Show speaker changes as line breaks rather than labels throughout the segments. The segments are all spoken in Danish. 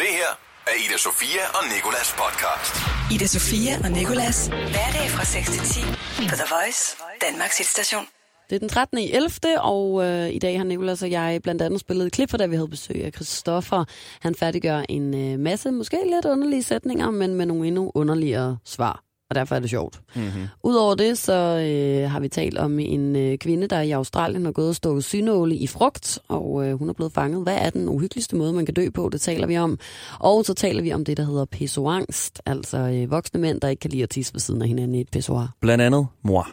af Ida Sofia og Nikolas podcast.
Ida Sofia og Nikolas. Hverdag fra 6 til 10 på The Voice, Danmarks hitstation.
Det er den 13. i 11. og øh, i dag har Nicolas og jeg blandt andet spillet et klip for, da vi havde besøg af Christoffer. Han færdiggør en øh, masse, måske lidt underlige sætninger, men med nogle endnu underligere svar. Og derfor er det sjovt. Mm-hmm. Udover det, så øh, har vi talt om en øh, kvinde, der i Australien har gået og stået synåle i frugt, og øh, hun er blevet fanget. Hvad er den uhyggeligste måde, man kan dø på? Det taler vi om. Og så taler vi om det, der hedder pissoangst, altså øh, voksne mænd, der ikke kan lide at tisse ved siden af hinanden i et pissoir.
Blandt andet mor.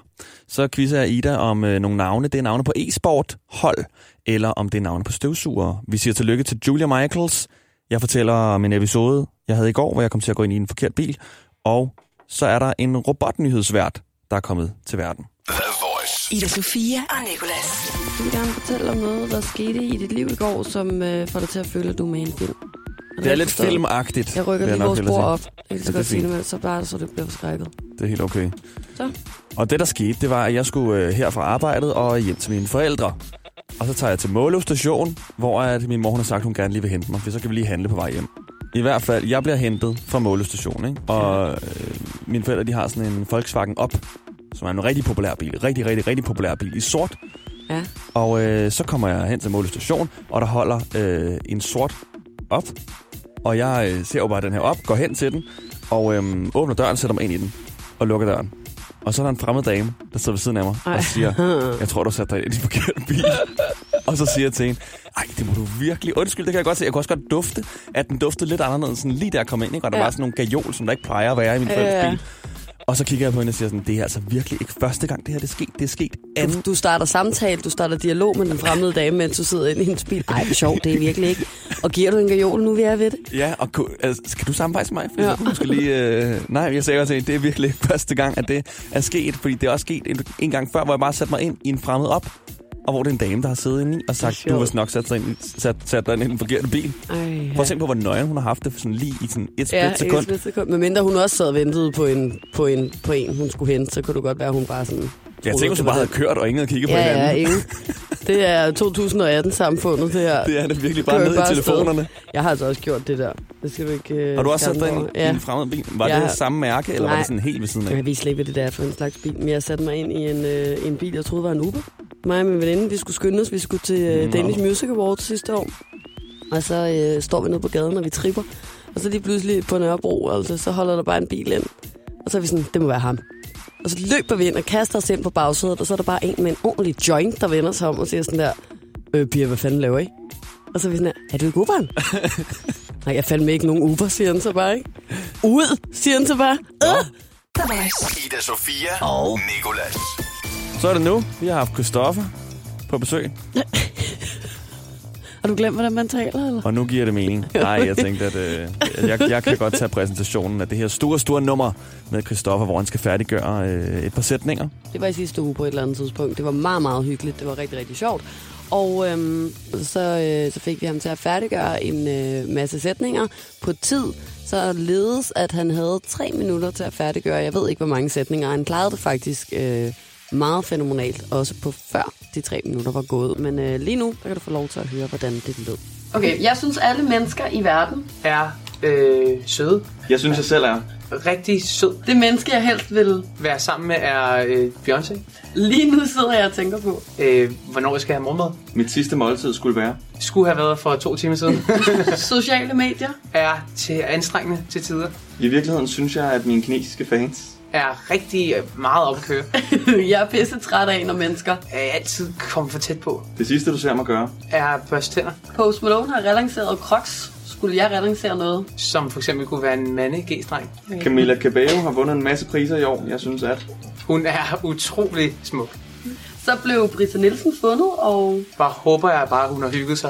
Så quizzer jeg Ida om øh, nogle navne. Det er navne på e-sport, hold, eller om det er navne på støvsugere. Vi siger tillykke til Julia Michaels. Jeg fortæller om en episode, jeg havde i går, hvor jeg kom til at gå ind i en forkert bil. Og så er der en robotnyhedsvært, der er kommet til verden.
The Voice.
Ida Sofia og Nikolas.
Jeg vil gerne fortælle om noget, der skete i dit liv i går, som øh, får dig til at føle, at du er med i en film. Er
Det er
rigtigt
lidt
forstået?
filmagtigt.
Jeg rykker
vil
lige
nok
vores
hellere
bord op.
sige.
Jeg kan
Ja,
så
det er
godt sige
fint.
det, men så bare så det bliver forskrækket.
Det er helt okay.
Så.
Og det, der skete, det var, at jeg skulle øh, her fra arbejdet og hjem til mine forældre. Og så tager jeg til Måløv station, hvor at min mor hun har sagt, hun gerne lige vil hente mig, for så kan vi lige handle på vej hjem. I hvert fald, jeg bliver hentet fra Måløv station, ikke? Og øh, mine forældre, de har sådan en Volkswagen Up, som er en rigtig populær bil. Rigtig, rigtig, rigtig populær bil i sort.
Ja.
Og øh, så kommer jeg hen til Måløv station, og der holder øh, en sort op. Og jeg øh, ser jo bare den her op, går hen til den, og øh, åbner døren, sætter mig ind i den, og lukker døren. Og så er der en fremmed dame, der sidder ved siden af mig Ej.
Ej.
og siger, jeg tror, du satte dig ind i en forkert bil. og så siger jeg til hende, Ej, det må du virkelig... Undskyld, det kan jeg godt se. Jeg kunne også godt dufte, at den duftede lidt anderledes, sådan lige der jeg kom ind, ikke? og der
Ja.
ja. var sådan nogle gajol, som der ikke plejer at være i min
Ja,
forældres
ja.
bil. Og så kigger jeg på hende og siger sådan, det er altså virkelig ikke første gang, det her det er sket. Det er sket
Du,
anden
du starter samtale, du starter dialog med den fremmede dame, mens du sidder inde i hendes bil. Ej, sjovt, det er virkelig ikke. Og giver du en gajol, nu vi er ved det?
Ja, og ku- altså, skal du samarbejde med mig? Fordi
Ja.
ja. så skal lige, øh, nej, jeg sagde også, at det er virkelig ikke første gang, at det er sket. Fordi det er også sket en, en gang før, hvor jeg bare satte mig ind i en fremmed op. Og hvor det er en dame, der har siddet inde i og sagt,
sjovt.
du vist nok sat, sig ind, i- sat, sat dig ind i den forkerte bil.
Ej, ja.
Prøv at tænke på, hvor nøgen hun har haft det sådan lige i sådan et split
Ja,
sekund.
et sekund. Men mindre hun også sad og ventede på en, på, en, på en, hun skulle hente, så kunne du godt være, hun bare sådan...
Jeg tænker, hun bare havde kørt, og ingen havde kigget på
Ja, ja,
hinanden.
ingen. Det er 2018-samfundet, det her.
Det er det virkelig bare
Kører
ned i
afsted.
telefonerne.
Jeg har altså også gjort det der. Det skal du ikke... Øh,
Har du også sat dig
skamme
ind
over.
i
Ja.
en fremmed bil? Var
Ja.
det samme mærke, eller var
Nej.
det sådan helt ved siden af?
Jeg ved slet ikke, hvad det der er for en slags bil, men jeg satte mig ind i en, øh, en bil, jeg troede var en Uber. Mig og min veninde, vi skulle skynde os, vi skulle til
Nå.
øh, Danish Music Awards sidste år. Og så øh, står vi nede på gaden, og vi tripper. Og så lige pludselig på Nørrebro, altså, så holder der bare en bil ind. Og så er vi sådan, det må være ham. Og så løber vi ind og kaster os ind på bagsædet, og så er der bare en med en ordentlig joint, der vender sig om og siger sådan der, øh, Pia, hvad fanden laver I? Og så er vi sådan her, er du ikke Uberen? Nej, jeg fandt mig ikke nogen Uber, siger han så bare, ikke? Ud, siger han så bare. Øh!
The Voice.
Ida Sofia og Nikolas.
Så er det nu. Vi har haft Christoffer på besøg,
Har du glemt, hvordan man taler, eller?
Og nu giver det mening. Nej, jeg tænkte, at øh, jeg, jeg kan godt tage præsentationen af det her store, store nummer med Christoffer, hvor han skal færdiggøre øh, et par sætninger.
Det var i sidste uge på et eller andet tidspunkt. Det var meget, meget hyggeligt. Det var rigtig, rigtig sjovt. Og øhm, så, øh, så fik vi ham til at færdiggøre en øh, masse sætninger på tid, så ledes, at han havde tre minutter til at færdiggøre. Jeg ved ikke, hvor mange sætninger. Han klarede det faktisk øh, meget fænomenalt, også på før de tre minutter var gået. Men øh, lige nu, der kan du få lov til at høre, hvordan det lød. Okay, jeg synes, alle mennesker i verden,
er øh, søde.
Jeg synes, jeg selv er.
Rigtig sød.
det menneske, jeg helst vil,
Være sammen med er øh, Beyoncé.
lige nu sidder jeg og tænker på.
Øh, hvornår jeg skal have morgenmad.
Mit sidste måltid skulle være.
Skulle have været for to timer siden.
Sociale medier.
er til anstrengende til tider.
I virkeligheden synes jeg, at mine kinesiske fans...
Er rigtig øh, meget op at køre.
jeg er pisse træt af, når mennesker
Er altid kommet for tæt på.
Det sidste, du ser mig gøre.
Er børste tænder.
Post Malone har relanceret Crocs. Skulle jeg relancere noget?
Som for eksempel kunne være en mande g-streng.
Camilla Cabello har vundet en masse priser i år. Jeg synes, at...
Hun er utrolig smuk.
Så blev Brita Nielsen fundet, og
Bare håber jeg bare, hun har hygget sig.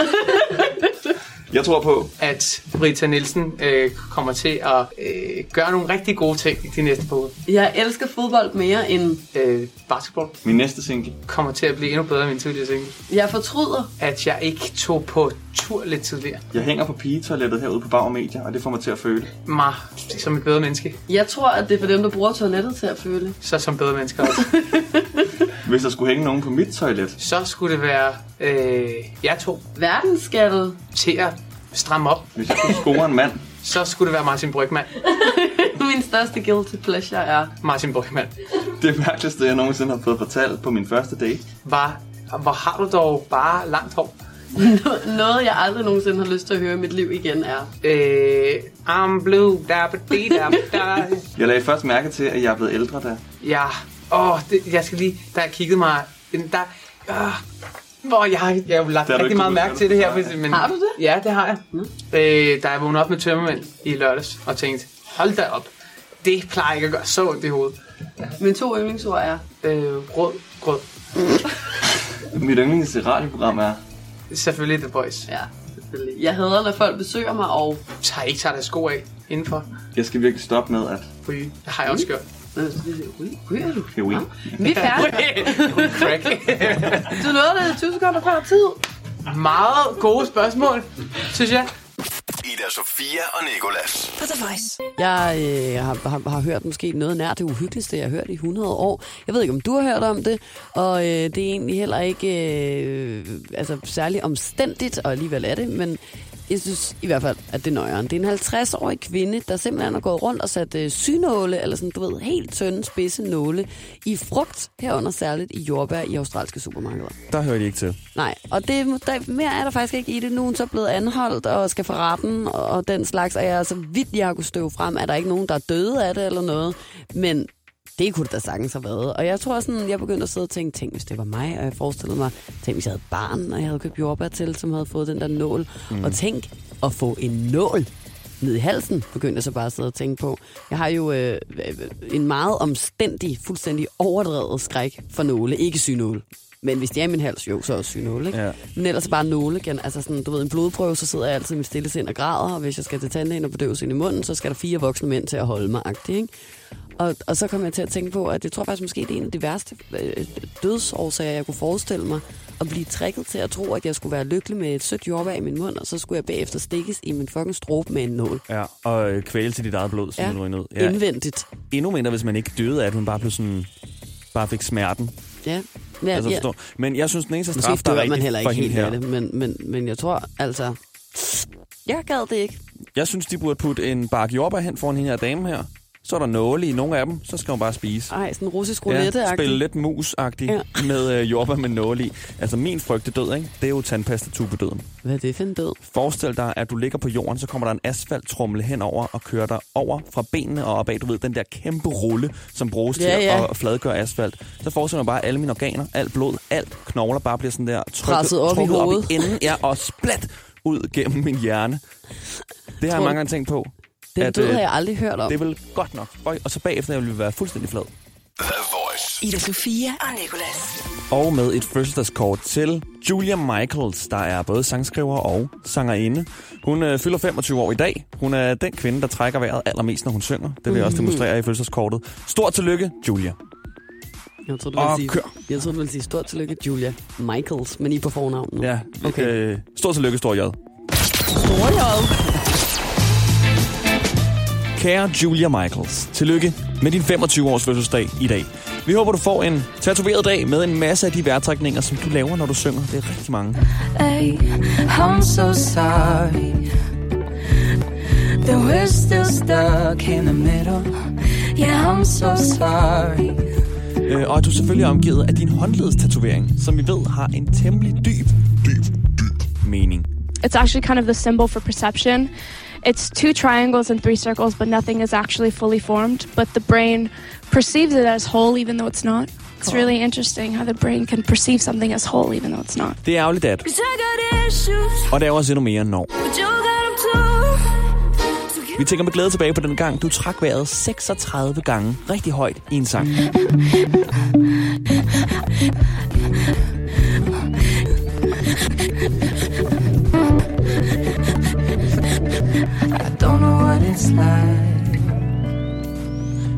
Jeg tror på...
At Brita Nielsen øh, kommer til at øh, gøre nogle rigtig gode ting i de næste par uger.
jeg elsker fodbold mere end
Øh, basketball
Min næste single.
kommer til at blive endnu bedre end min tidligere single.
jeg fortryder.
at jeg ikke tog på tur lidt tidligere.
Jeg hænger på pigetoilettet herude på Bauer Media, og det får mig til at føle.
Mig som et bedre menneske,
Jeg tror, at det er for dem, der bruger toilettet til at føle.
så som bedre mennesker også.
Hvis der skulle hænge nogen på mit toilet,
så skulle det være øh, jeg to
Verden skal
til at stramme op,
Hvis jeg skulle score en mand,
så skulle det være Martin Brygman.
Min største guilty pleasure er...
Martin Brygman.
det mærkeligste, jeg nogensinde har fået fortalt på min første date.
Var, hvor har du dog bare langt hår?
Noget, jeg aldrig nogensinde har lyst til at høre i mit liv igen er...
Øh, I'm blue, da ba dee da da.
Jeg lagde først mærke til, at jeg er blevet ældre da.
Ja, åh, det, jeg skal lige, da jeg kiggede mig, der, øh, hvor jeg, har- jeg har jo lagt
Det har du
rigtig
ikke
meget
kunnet
mærke
gøre
til det
det.
her. hvis- Men,
Har du det?
Ja, det har jeg. Øh, da jeg vågnede op med tømmermænd i lørdags og tænkte, hold da op, det plejer ikke at gøre så ondt i hovedet.
Mine to yndlingsord er...
Øh, rød, grød.
Mit yndlings radioprogram er...
Selvfølgelig The Boys.
Ja, selvfølgelig. Jeg hader, når folk besøger mig, og
Så har jeg ikke taget deres sko af indenfor.
Jeg skal virkelig stoppe med at...
Ryge. Det har jeg også gjort.
Øh, ry- Ryger du?
Jo, ikke.
Vi er færdige.
Crack.
Du nåede det 20 sekunder før tid.
Meget gode spørgsmål, synes jeg.
Ida Sofia og Nikolas.
På The Voice.
Jeg øh, har, har, har hørt måske noget nær det uhyggeligste, jeg har hørt i 100 år. Jeg ved ikke, om du har hørt om det, og øh, det er egentlig heller ikke øh, altså, særlig omstændigt, og alligevel er det, men jeg synes i hvert fald, at det er nøjeren. Det er en 50-årig kvinde, der simpelthen har gået rundt og sat øh, synåle, eller sådan, du ved, helt tynde, spidse nåle, i frugt, herunder særligt i jordbær i australske supermarkeder.
Der hører de ikke til.
Nej, og det, der, mere er der faktisk ikke i det. Nu er hun så blevet anholdt og skal for retten og, og den slags. Og jeg er så vidt, jeg har kunne støve frem, at der ikke nogen, der er døde af det eller noget. Men det kunne det da sagtens have været. Og jeg tror sådan, jeg begyndte at sidde og tænke, tænk hvis det var mig. Og jeg forestillede mig, tænk hvis jeg havde et barn, og jeg havde købt jordbær til, som havde fået den der nål. Mm. Og tænk at få en nål ned i halsen, begyndte jeg så bare at sidde og tænke på. Jeg har jo øh, øh, en meget omstændig, fuldstændig overdrevet skræk for nåle. Ikke sygnåle. Men hvis det er i min hals, jo, så er det sygnåle, ikke?
Ja.
Men ellers bare nåle igen. Altså sådan, du ved, en blodprøve, så sidder jeg altid med stille sind og græder, og hvis jeg skal til tandlægen og bedøves ind i munden, så skal der fire voksne mænd til at holde mig, agtig, ikke? Og, og så kom jeg til at tænke på, at jeg tror faktisk måske, det er en af de værste øh, dødsårsager, jeg kunne forestille mig. At blive trækket til at tro, at jeg skulle være lykkelig med et sødt jordbær i min mund, og så skulle jeg bagefter stikkes i min fucking strobe med en nål.
Ja, og øh, kvæle til dit eget blod, som ja. du er nødt.
Ja. Indvendigt.
Endnu mindre, hvis man ikke døde af, at hun bare blev sådan bare fik smerten.
Ja. ja,
altså,
ja.
forstår. Men jeg synes, den eneste straf,
Måske
der er
dør
rigtig
man heller
for
ikke
hende
helt
her,
af det, men, men, men jeg tror altså... Jeg gad det ikke.
Jeg synes, de burde putte en bark jordbær hen foran hende her dame her. Så er der nåle i nogle af dem, så skal hun bare spise.
Ej, sådan russisk roulette
Ja, spille lidt mus ja.
Ja.
med øh, jordbær med nåle i. Altså min frygte død, ikke? det er jo tandpastatubedøden.
Hvad er det for en død?
Forestil dig, at du ligger på jorden, så kommer der en asfalttrummel henover og kører dig over fra benene og opad. Du ved, den der kæmpe rulle, som bruges
Ja,
til
ja.
at fladgøre asfalt. Så forestil dig bare, at alle mine organer, alt blod, alt knogler bare bliver sådan der trykket,
Presset op i
trukket
hovedet.
op i enden ja, og splat ud gennem min hjerne. Det
Tror
har jeg
du-
mange gange tænkt på.
Den
at,
død
øh,
har jeg aldrig hørt om.
Det vil godt nok. Føj, Og så bagefter jeg vil være fuldstændig flad.
The Voice.
Ida Sofia og Nicolas.
Og med et fødselsdagskort til Julia Michaels, der er både sangskriver og sangerinde. Hun øh, fylder 25 år i dag. Hun er den kvinde, der trækker vejret allermest, når hun synger. Det vil jeg også demonstrere i fødselsdagskortet. Stort tillykke, Julia.
Jeg tror, du ville
Åh,
sige,
kør.
jeg tror, du ville sige stort tillykke, Julia Michaels, men I er på fornavn nu.
Ja,
Okay.
øh, stort tillykke, Stor J.
Store jord.
Kære Julia Michaels, tillykke med din 25-års fødselsdag i dag. Vi håber, du får en tatoveret dag med en masse af de vejrtrækninger, som du laver, når du synger. Det er rigtig mange.
Hey, I'm so sorry that we're still stuck in the middle. Yeah, I'm so sorry.
Øh, og at du selvfølgelig er omgivet af din håndledstatovering, som vi ved har en temmelig dyb, dyb, dyb mening.
It's actually kind of the symbol for perception. It's two triangles and three circles, but nothing is actually fully formed. But the brain perceives it as whole, even though it's not. It's really interesting how the brain can perceive something as whole, even though it's not.
Det er ærgerligt, at,
Cause I got issues,
og der er også endnu mere når.
but you got 'em too. So
Vi
give
tænker med glæde tilbage på den gang, du trak vejret 36 gange rigtig højt i en sang.
I don't know what it's like.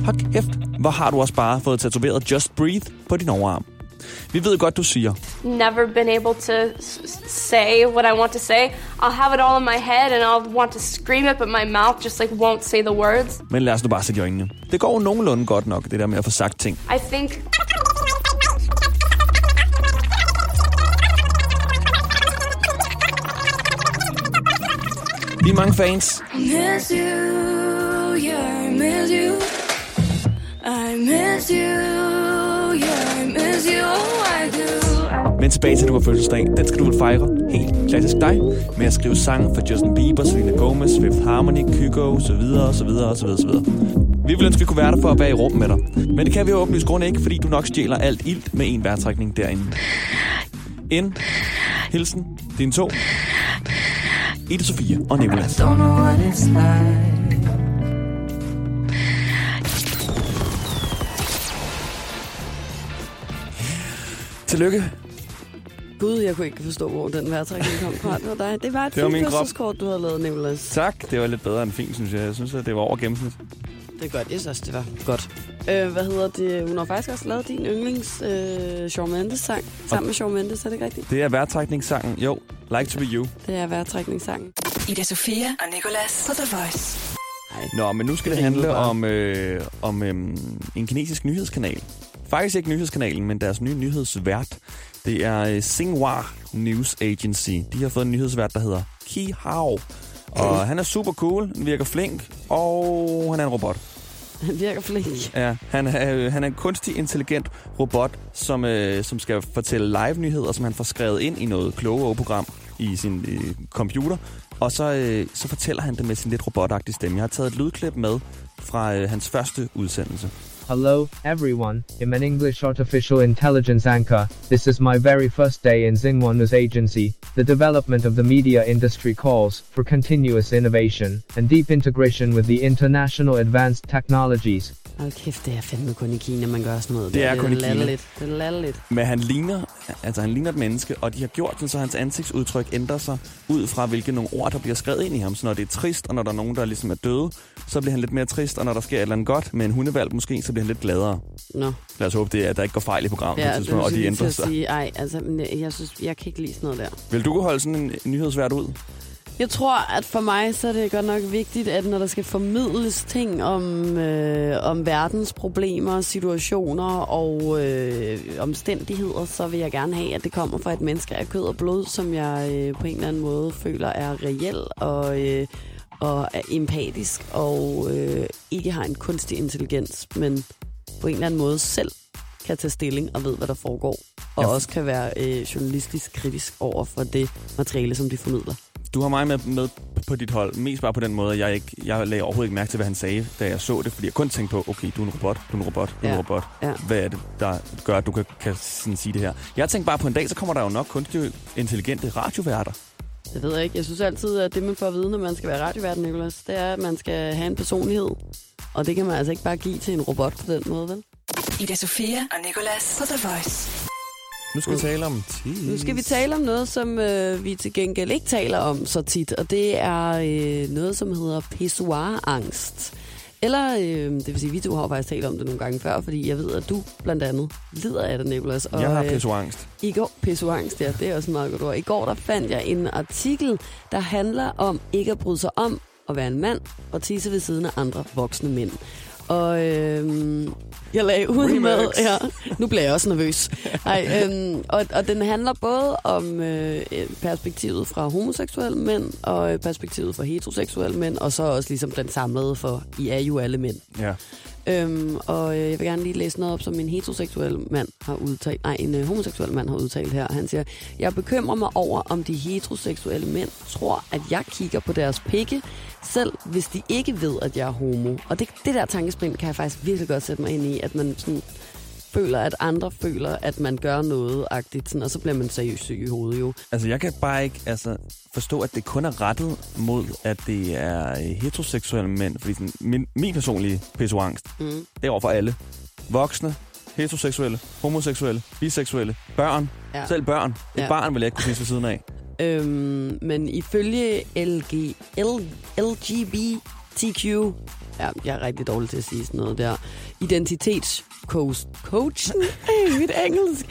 Hold kæft, hvor har du også bare fået tatoveret Just Breathe på din overarm. Vi ved godt, du siger,
never been able to s- s- say what I want to say. I'll have it all in my head and I'll want to scream it, but my mouth just like won't say the words.
men lad os nu bare sætte i øjnene. Det går jo nogenlunde godt nok, det der med at få sagt ting.
I think
Lige mange fans.
miss you, yeah, I miss you. I miss you, yeah, I miss you, oh, I do.
Men tilbage til, at du har fødselsdag. Den skal du vel fejre helt klassisk dig. Med at skrive sange for Justin Bieber, Selena Gomez, Fifth Harmony, Kygo, så videre, så videre, så videre, så videre. Vi ville ønske, at vi kunne være der for at være i rum med dig. Men det kan vi jo åbenlyst grund ikke, fordi du nok stjæler alt ilt med en vejrtrækning derinde. En hilsen, din to, Ida Sofia og Nicolas.
Don't know what it's like.
Tillykke.
Gud, jeg kunne ikke forstå, hvor den vejrtrækning kom fra. Det var dig. Det var et
Det var
fint
min krop.
fødselskort, du havde lavet, Nicolas.
Tak. Det var lidt bedre end fint, synes jeg. Jeg synes, at det var over gennemsnit.
Det er godt. Jeg synes også, det var godt. Øh, hvad hedder det? Hun har faktisk også lavet din yndlings øh, Shawn Mendes-sang. Sammen med Shawn Mendes, er det ikke rigtigt?
Det er vejrtrækningssangen. Jo, Like to be you.
Det er vejrtrækningssangen.
Ida Sofia og Nicolas på The Voice.
Nå, men nu skal det handle om, øh, om øh, en kinesisk nyhedskanal. Faktisk ikke nyhedskanalen, men deres nye nyhedsvært. Det er øh, Xinhua News Agency. De har fået en nyhedsvært, der hedder Ki Hao. Og han er super cool, han virker flink, og han er en robot.
Han virker flink.
Ja, han er, øh, han er en kunstig, intelligent robot, som, øh, som skal fortælle live-nyheder, som han får skrevet ind i noget klogere program i sin øh, computer. Og så, øh, så fortæller han det med sin lidt robotagtige stemme. Jeg har taget et lydklip med fra øh, hans første udsendelse.
Hello, everyone. I'm an English artificial intelligence anchor. This is my very first day in Xinhua News Agency. The development of the media industry calls for continuous innovation and deep integration with the international advanced technologies.
Hold kæft, det er fandme kun i Kina, man gør sådan noget.
Det
der.
er kun i Kina.
latterligt. Det er latterligt.
Men han ligner, altså han ligner et menneske, og de har gjort det, så hans ansigtsudtryk ændrer sig ud fra, hvilke nogle ord, der bliver skrevet ind i ham. Så når det er trist, og når der er nogen, der ligesom er døde, så bliver han lidt mere trist, og når der sker et eller andet godt med en hundevalg måske, så bliver han lidt gladere.
Nå.
Lad os håbe, det er, at der ikke går fejl i programmet ja, på et
det er
tidspunkt, og de
lige til
ændrer
at
sig.
sige, ej, altså, men jeg, jeg, synes, jeg kan ikke lide sådan noget der.
Vil du kunne holde sådan en nyhedsvært ud?
Jeg tror, at for mig så er det godt nok vigtigt, at når der skal formidles ting om, øh, om verdens problemer, situationer og øh, omstændigheder, så vil jeg gerne have, at det kommer fra et menneske af kød og blod, som jeg øh, på en eller anden måde føler er reel og, øh, og er empatisk og øh, ikke har en kunstig intelligens, men på en eller anden måde selv kan tage stilling og ved, hvad der foregår. Og
Ja.
også kan være øh, journalistisk kritisk over for det materiale, som de formidler.
Du har mig med, med på dit hold, mest bare på den måde, at jeg, ikke, jeg lagde overhovedet ikke mærke til, hvad han sagde, da jeg så det, fordi jeg kun tænkte på, okay, du er en robot, du er en robot, du er
Ja,
en robot.
ja.
Hvad er det, der gør, at du kan, kan sådan sige det her? Jeg tænkte bare, på en dag, så kommer der jo nok kunstig intelligente radioværter.
Det ved jeg ikke. Jeg synes altid, at det, man får at vide, når man skal være radiovært, Nicolas, det er, at man skal have en personlighed. Og det kan man altså ikke bare give til en robot på den måde, vel?
Ida Sofia og Nicolas på The Voice.
Nu skal vi tale om...
Nu skal vi tale om noget, som øh, vi til gengæld ikke taler om så tit, og det er øh, noget, som hedder pissoir-angst. Eller, øh, det vil sige, vi to har jo faktisk talt om det nogle gange før, fordi jeg ved, at du blandt andet lider af det, Nicolas. Og,
Jeg har
øh,
pissoangst.
I går, pissoangst, ja, det er også en meget godt ord. I går der fandt jeg en artikel, der handler om ikke at bryde sig om at være en mand og tisse ved siden af andre voksne mænd. Og øhm, jeg lagde ud med...
Remix.
Ja, nu bliver jeg også nervøs. Ej, øhm, og, og den handler både om øh, perspektivet fra homoseksuelle mænd og øh, perspektivet fra heteroseksuelle mænd, og så også ligesom den samlede for, I er jo alle mænd.
Ja.
Øhm, og øh, jeg vil gerne lige læse noget op, som en heteroseksuel mand har udtalt. Nej, en øh, homoseksuel mand har udtalt her. Han siger, jeg bekymrer mig over, om de heteroseksuelle mænd tror, at jeg kigger på deres pikke, selv hvis de ikke ved, at jeg er homo. Og det, det der tankespind kan jeg faktisk virkelig godt sætte mig ind i, at man sådan føler, at andre føler, at man gør noget-agtigt, sådan, og så bliver man seriøst syg i hovedet jo.
Altså, jeg kan bare ikke altså, forstå, at det kun er rettet mod, at det er øh, heteroseksuelle mænd. Fordi sådan, min, min personlige pissoangst, mm. det er over for alle. Voksne, heteroseksuelle, homoseksuelle, biseksuelle, børn.
Ja.
Ja. Selv børn. Et
Ja.
ja. barn vil jeg ikke kunne pisse ved siden af.
Øhm, men ifølge LG, L, LGBTQ, ja, jeg er rigtig dårlig til at sige sådan noget der, identitetscoachen, hey, mit engelsk,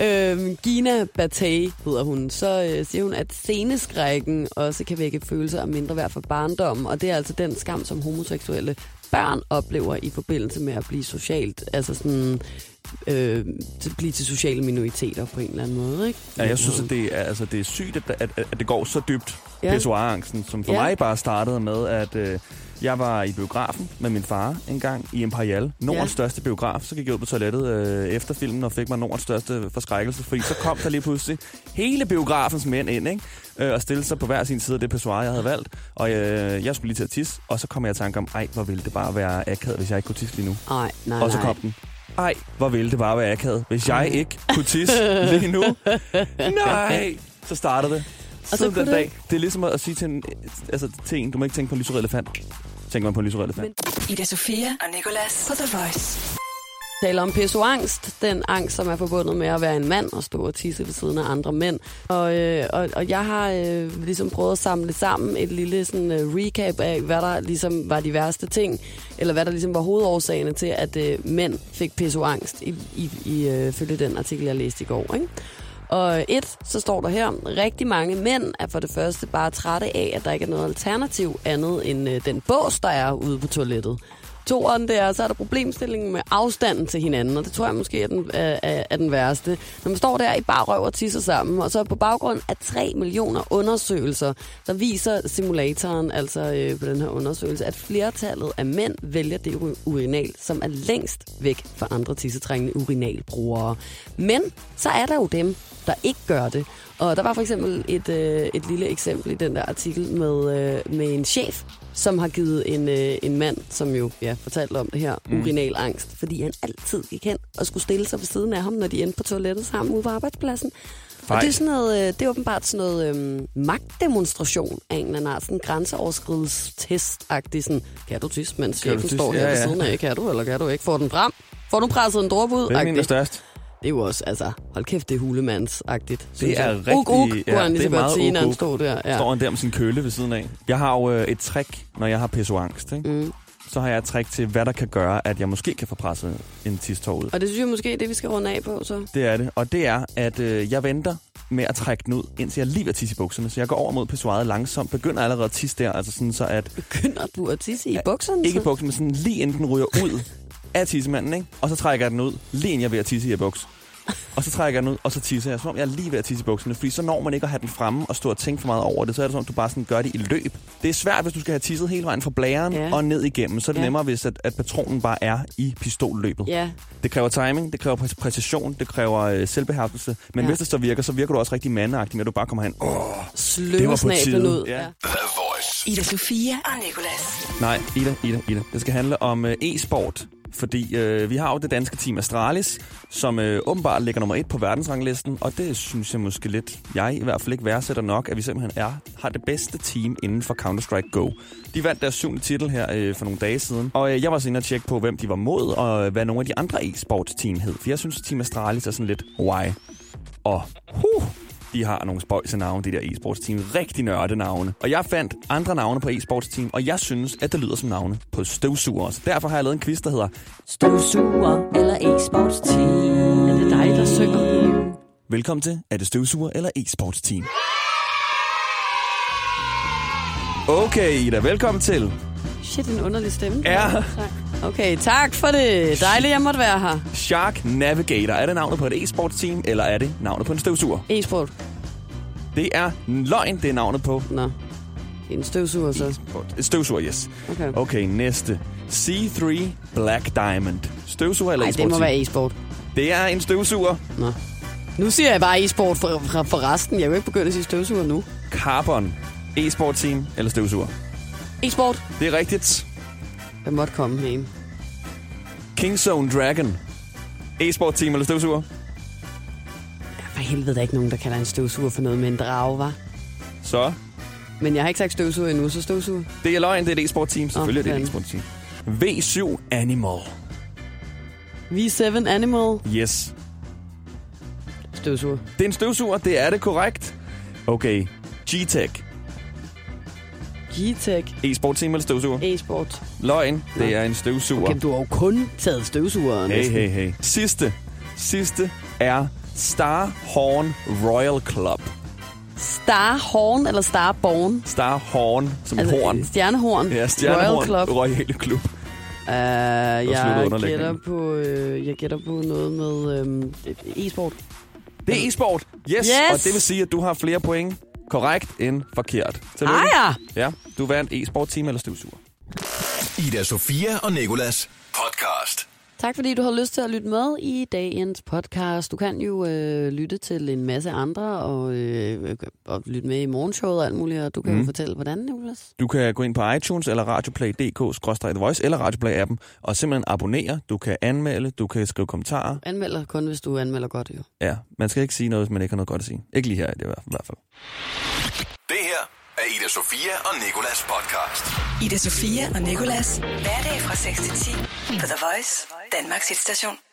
øhm, Gina Batay hedder hun, så øh, siger hun, at seneskrækken også kan vække følelser af mindre værd for barndommen, og det er altså den skam, som homoseksuelle børn oplever i forbindelse med at blive socialt, altså sådan øh, til- blive til sociale minoriteter på en eller anden måde, ikke?
Ja, jeg synes, at det er, altså, det er sygt, at, at, at det går så dybt,
Ja.
ja. pissoirangsten, som for
Ja.
ja. mig bare startede med, at øh, jeg var i biografen med min far en gang i Imperial, Nordens
Ja.
ja. største biograf. Så gik jeg ud på toilettet øh, efter filmen og fik mig Nordens største forskrækkelse, fordi så kom der lige pludselig hele biografens mænd ind, ikke? Øh, og stillede sig på hver sin side af det pissoir, jeg havde valgt. Og øh, jeg skulle lige til at tisse, og så kom jeg i tanke om, ej, hvor ville det bare være akavet, hvis jeg ikke kunne tisse lige nu.
Nej, nej,
Og så
Ah, nej.
kom den. Ej, hvor ville det bare være akavet, hvis jeg ikke kunne tisse lige nu. Nej! Så startede det.
så
Og så
kunne
den
det-
dag. Det er ligesom at at sige til en, altså, til en, du må ikke tænke på en lyserød elefant. Tænker man på en lyserød elefant. Men...
Ida Sofia og Nicolas på The Voice.
taler om pissoangst, den angst, som er forbundet med at være en mand og stå og tisse ved siden af andre mænd. Og, øh, og, og jeg har øh, ligesom prøvet at samle sammen et lille sådan, øh, recap af, hvad der ligesom var de værste ting, eller hvad der ligesom var hovedårsagerne til, at øh, mænd fik pissoangst, i, i, i, øh, følge den artikel, jeg læste i går. Ikke? Og et, så står der her, rigtig mange mænd er for det første bare trætte af, at der ikke er noget alternativ andet end øh, den bås, der er ude på toilettet. Toeren, det er, så er der problemstillingen med afstanden til hinanden, og det tror jeg måske er den, er, er- er den værste. Når man står der i bare røv og tisser sammen, og så på baggrund af 3 millioner undersøgelser, der viser simulatoren, altså øh, på den her undersøgelse, at flertallet af mænd vælger det uri- urinal, som er længst væk fra andre tissetrængende urinalbrugere. Men så er der jo dem, der ikke gør det. Og der var for eksempel et, øh, et lille eksempel i den der artikel med, øh, med en chef, som har givet en, øh, en mand, som jo ja, fortalte om det her, mm. urinalangst, fordi han altid gik hen og skulle stille sig ved siden af ham, når de endte på toilettet sammen ude på arbejdspladsen. Og
Fej.
det er, sådan noget, øh, det er åbenbart sådan noget øhm, magtdemonstration af en eller anden art, sådan en grænseoverskridelsestest-agtig, sådan, kan du tisse, mens
Kan du
chefen
tisse?
står her
Ja,
ved
ja.
siden af, kan du, eller kan du ikke, får den frem, får du presset en dråbe ud,
Hvem er
Agtigt.
min der er størst?
Det er jo også, altså, hold kæft, det er hulemandsagtigt. synes
er
jeg.
rigtig-
Uk, uk, kunne
ja,
han lige
det
så godt
er meget
sige,
uk,
når han
uk.
stod der.
Ja.
Ja.
Står han der med sin køle ved siden af. Jeg har jo øh, et trick, når jeg har pissoangst. Ikke?
Mm.
Så har jeg et trick til, hvad der kan gøre, at jeg måske kan få presset en tistår ud.
Og det synes jeg måske er det, vi skal runde af på, så.
Det er det. Og det er, at øh, jeg venter med at trække den ud, indtil jeg lige er tisse i bukserne. Så jeg går over mod pissoiret langsomt, begynder allerede at tisse der, altså sådan så at
Begynder du at tisse i
Ja,
bukserne?
Ikke i
så?
buksen, men sådan lige inden den ryger ud af tissemanden, ikke? Og så trækker jeg den ud, lige inden jeg er ved at tisse i buks. Og så trækker jeg den ud, og så tisser jeg, som om jeg er lige ved at tisse i bukserne. Fordi så når man ikke at have den fremme og stå og tænke for meget over det, så er det som om, du bare sådan gør det i løb. Det er svært, hvis du skal have tisset hele vejen fra blæren
Ja.
ja. og ned igennem. Så er det
Ja.
ja. nemmere, hvis at, at patronen bare er i pistolløbet.
Ja,
Det kræver timing, det kræver præ- præcision, det kræver øh, selvbeherskelse. Men
Ja.
ja. hvis det så virker, så virker du også rigtig mandagtig, når du bare kommer hen. Åh, det var
sløve
på
snablen
tide.
ud.
Ja.
Ja.
The Voice.
Ida Sofia og Nicolas.
Nej, Ida, Ida, Ida. Det skal handle om øh, e-sport, fordi øh, vi har jo det danske team Astralis, som øh, åbenbart ligger nummer et på verdensranglisten, og det synes jeg måske lidt, jeg i hvert fald ikke værdsætter nok, at vi simpelthen er, har det bedste team inden for Counter-Strike Go. De vandt deres syvende titel her øh, for nogle dage siden, og øh, jeg var så inde og tjekke på, hvem de var mod, og øh, hvad nogle af de andre e-sport team hed, for jeg synes, Team Astralis er sådan lidt why. Og huh, de har nogle spøjse navne, de der e-sportsteam. Rigtig nørde navne. Og jeg fandt andre navne på e-sportsteam, og jeg synes, at det lyder som navne på støvsuger. Så derfor har jeg lavet en quiz, der hedder
Støvsuger eller e-sportsteam. Er det dig, der synger?
Velkommen til, er det støvsuger eller e-sportsteam? Okay, Ida, velkommen til.
Shit, en underlig stemme.
Er
Okay, tak for det. Dejligt, jeg måtte være her.
Shark Navigator, er det navnet på et e-sportsteam, eller er det navnet på en støvsuger?
E-sport.
Det er løgn, det er navnet på
Nå, det er en støvsuger så.
e-sport. Støvsuger, yes.
Okay.
Okay, næste. C3 Black Diamond. Støvsuger eller
Nej, det
e-sportsteam?
må være e-sport.
Det er en støvsuger.
Nå. Nu siger jeg bare e-sport for, for, for resten. Jeg vil ikke begynde at sige støvsuger nu.
Carbon. E-sport team eller støvsuger.
E-sport.
Det er rigtigt.
Jeg måtte komme med en.
Kingzone Dragon. E-sport team eller støvsuger.
For helvede, der er ikke nogen, der kalder en støvsuger for noget med en drage, var.
Så.
Men jeg har ikke sagt støvsuger endnu, så støvsuger.
Det er løgn, det er et e-sport team. Selvfølgelig er det et
fanden.
e-sport team. V7 Animal.
V7 Animal.
Yes.
Støvsuger.
Det er en støvsuger, det er det korrekt. Okay. G-Tech.
G-Tech.
E-sport team eller støvsuger.
E-sport.
Løgn, det
Nå.
er en støvsuger.
Jamen, E- du har jo kun taget støvsugeren.
Hey,
næsten.
hey, hey. Sidste. Sidste er Starhorn Royal Club.
Starhorn eller Starborn?
Starhorn som altså, horn.
Stjernehorn.
Ja, Stjernehorn
øh, Royal Club.
Royale Klub.
Uh, jeg,
underlægningen.
gætter på, øh, jeg gætter på noget med øhm, e-sport.
Det er e-sport. Yes. yes.
Yes.
Og det vil sige, at du har flere point korrekt end forkert. Tillykke.
Ah ja!
Ja, du vandt e-sport team eller støvsuger.
Ida Sofia og Nikolas podcast.
Tak fordi du har lyst til at lytte med i dagens podcast. Du kan jo øh, lytte til en masse andre og, øh, og lytte med i morgenshowet og alt muligt, og du kan mm. jo fortælle, hvordan, Nicolas.
Du kan gå ind på iTunes eller radioplay.dk-the voice eller radioplay-appen og simpelthen abonnere. Du kan anmelde, du kan skrive kommentarer.
Anmelder kun, hvis du anmelder godt, jo.
Ja, man skal ikke sige noget, hvis man ikke har noget godt at sige. Ikke lige her i det i hvert fald.
Det her er Ida Sofia og Nikolas podcast.
Ida Sofia og Nikolas. Hverdag fra 6 til 10 på The Voice, Danmarks hitstation.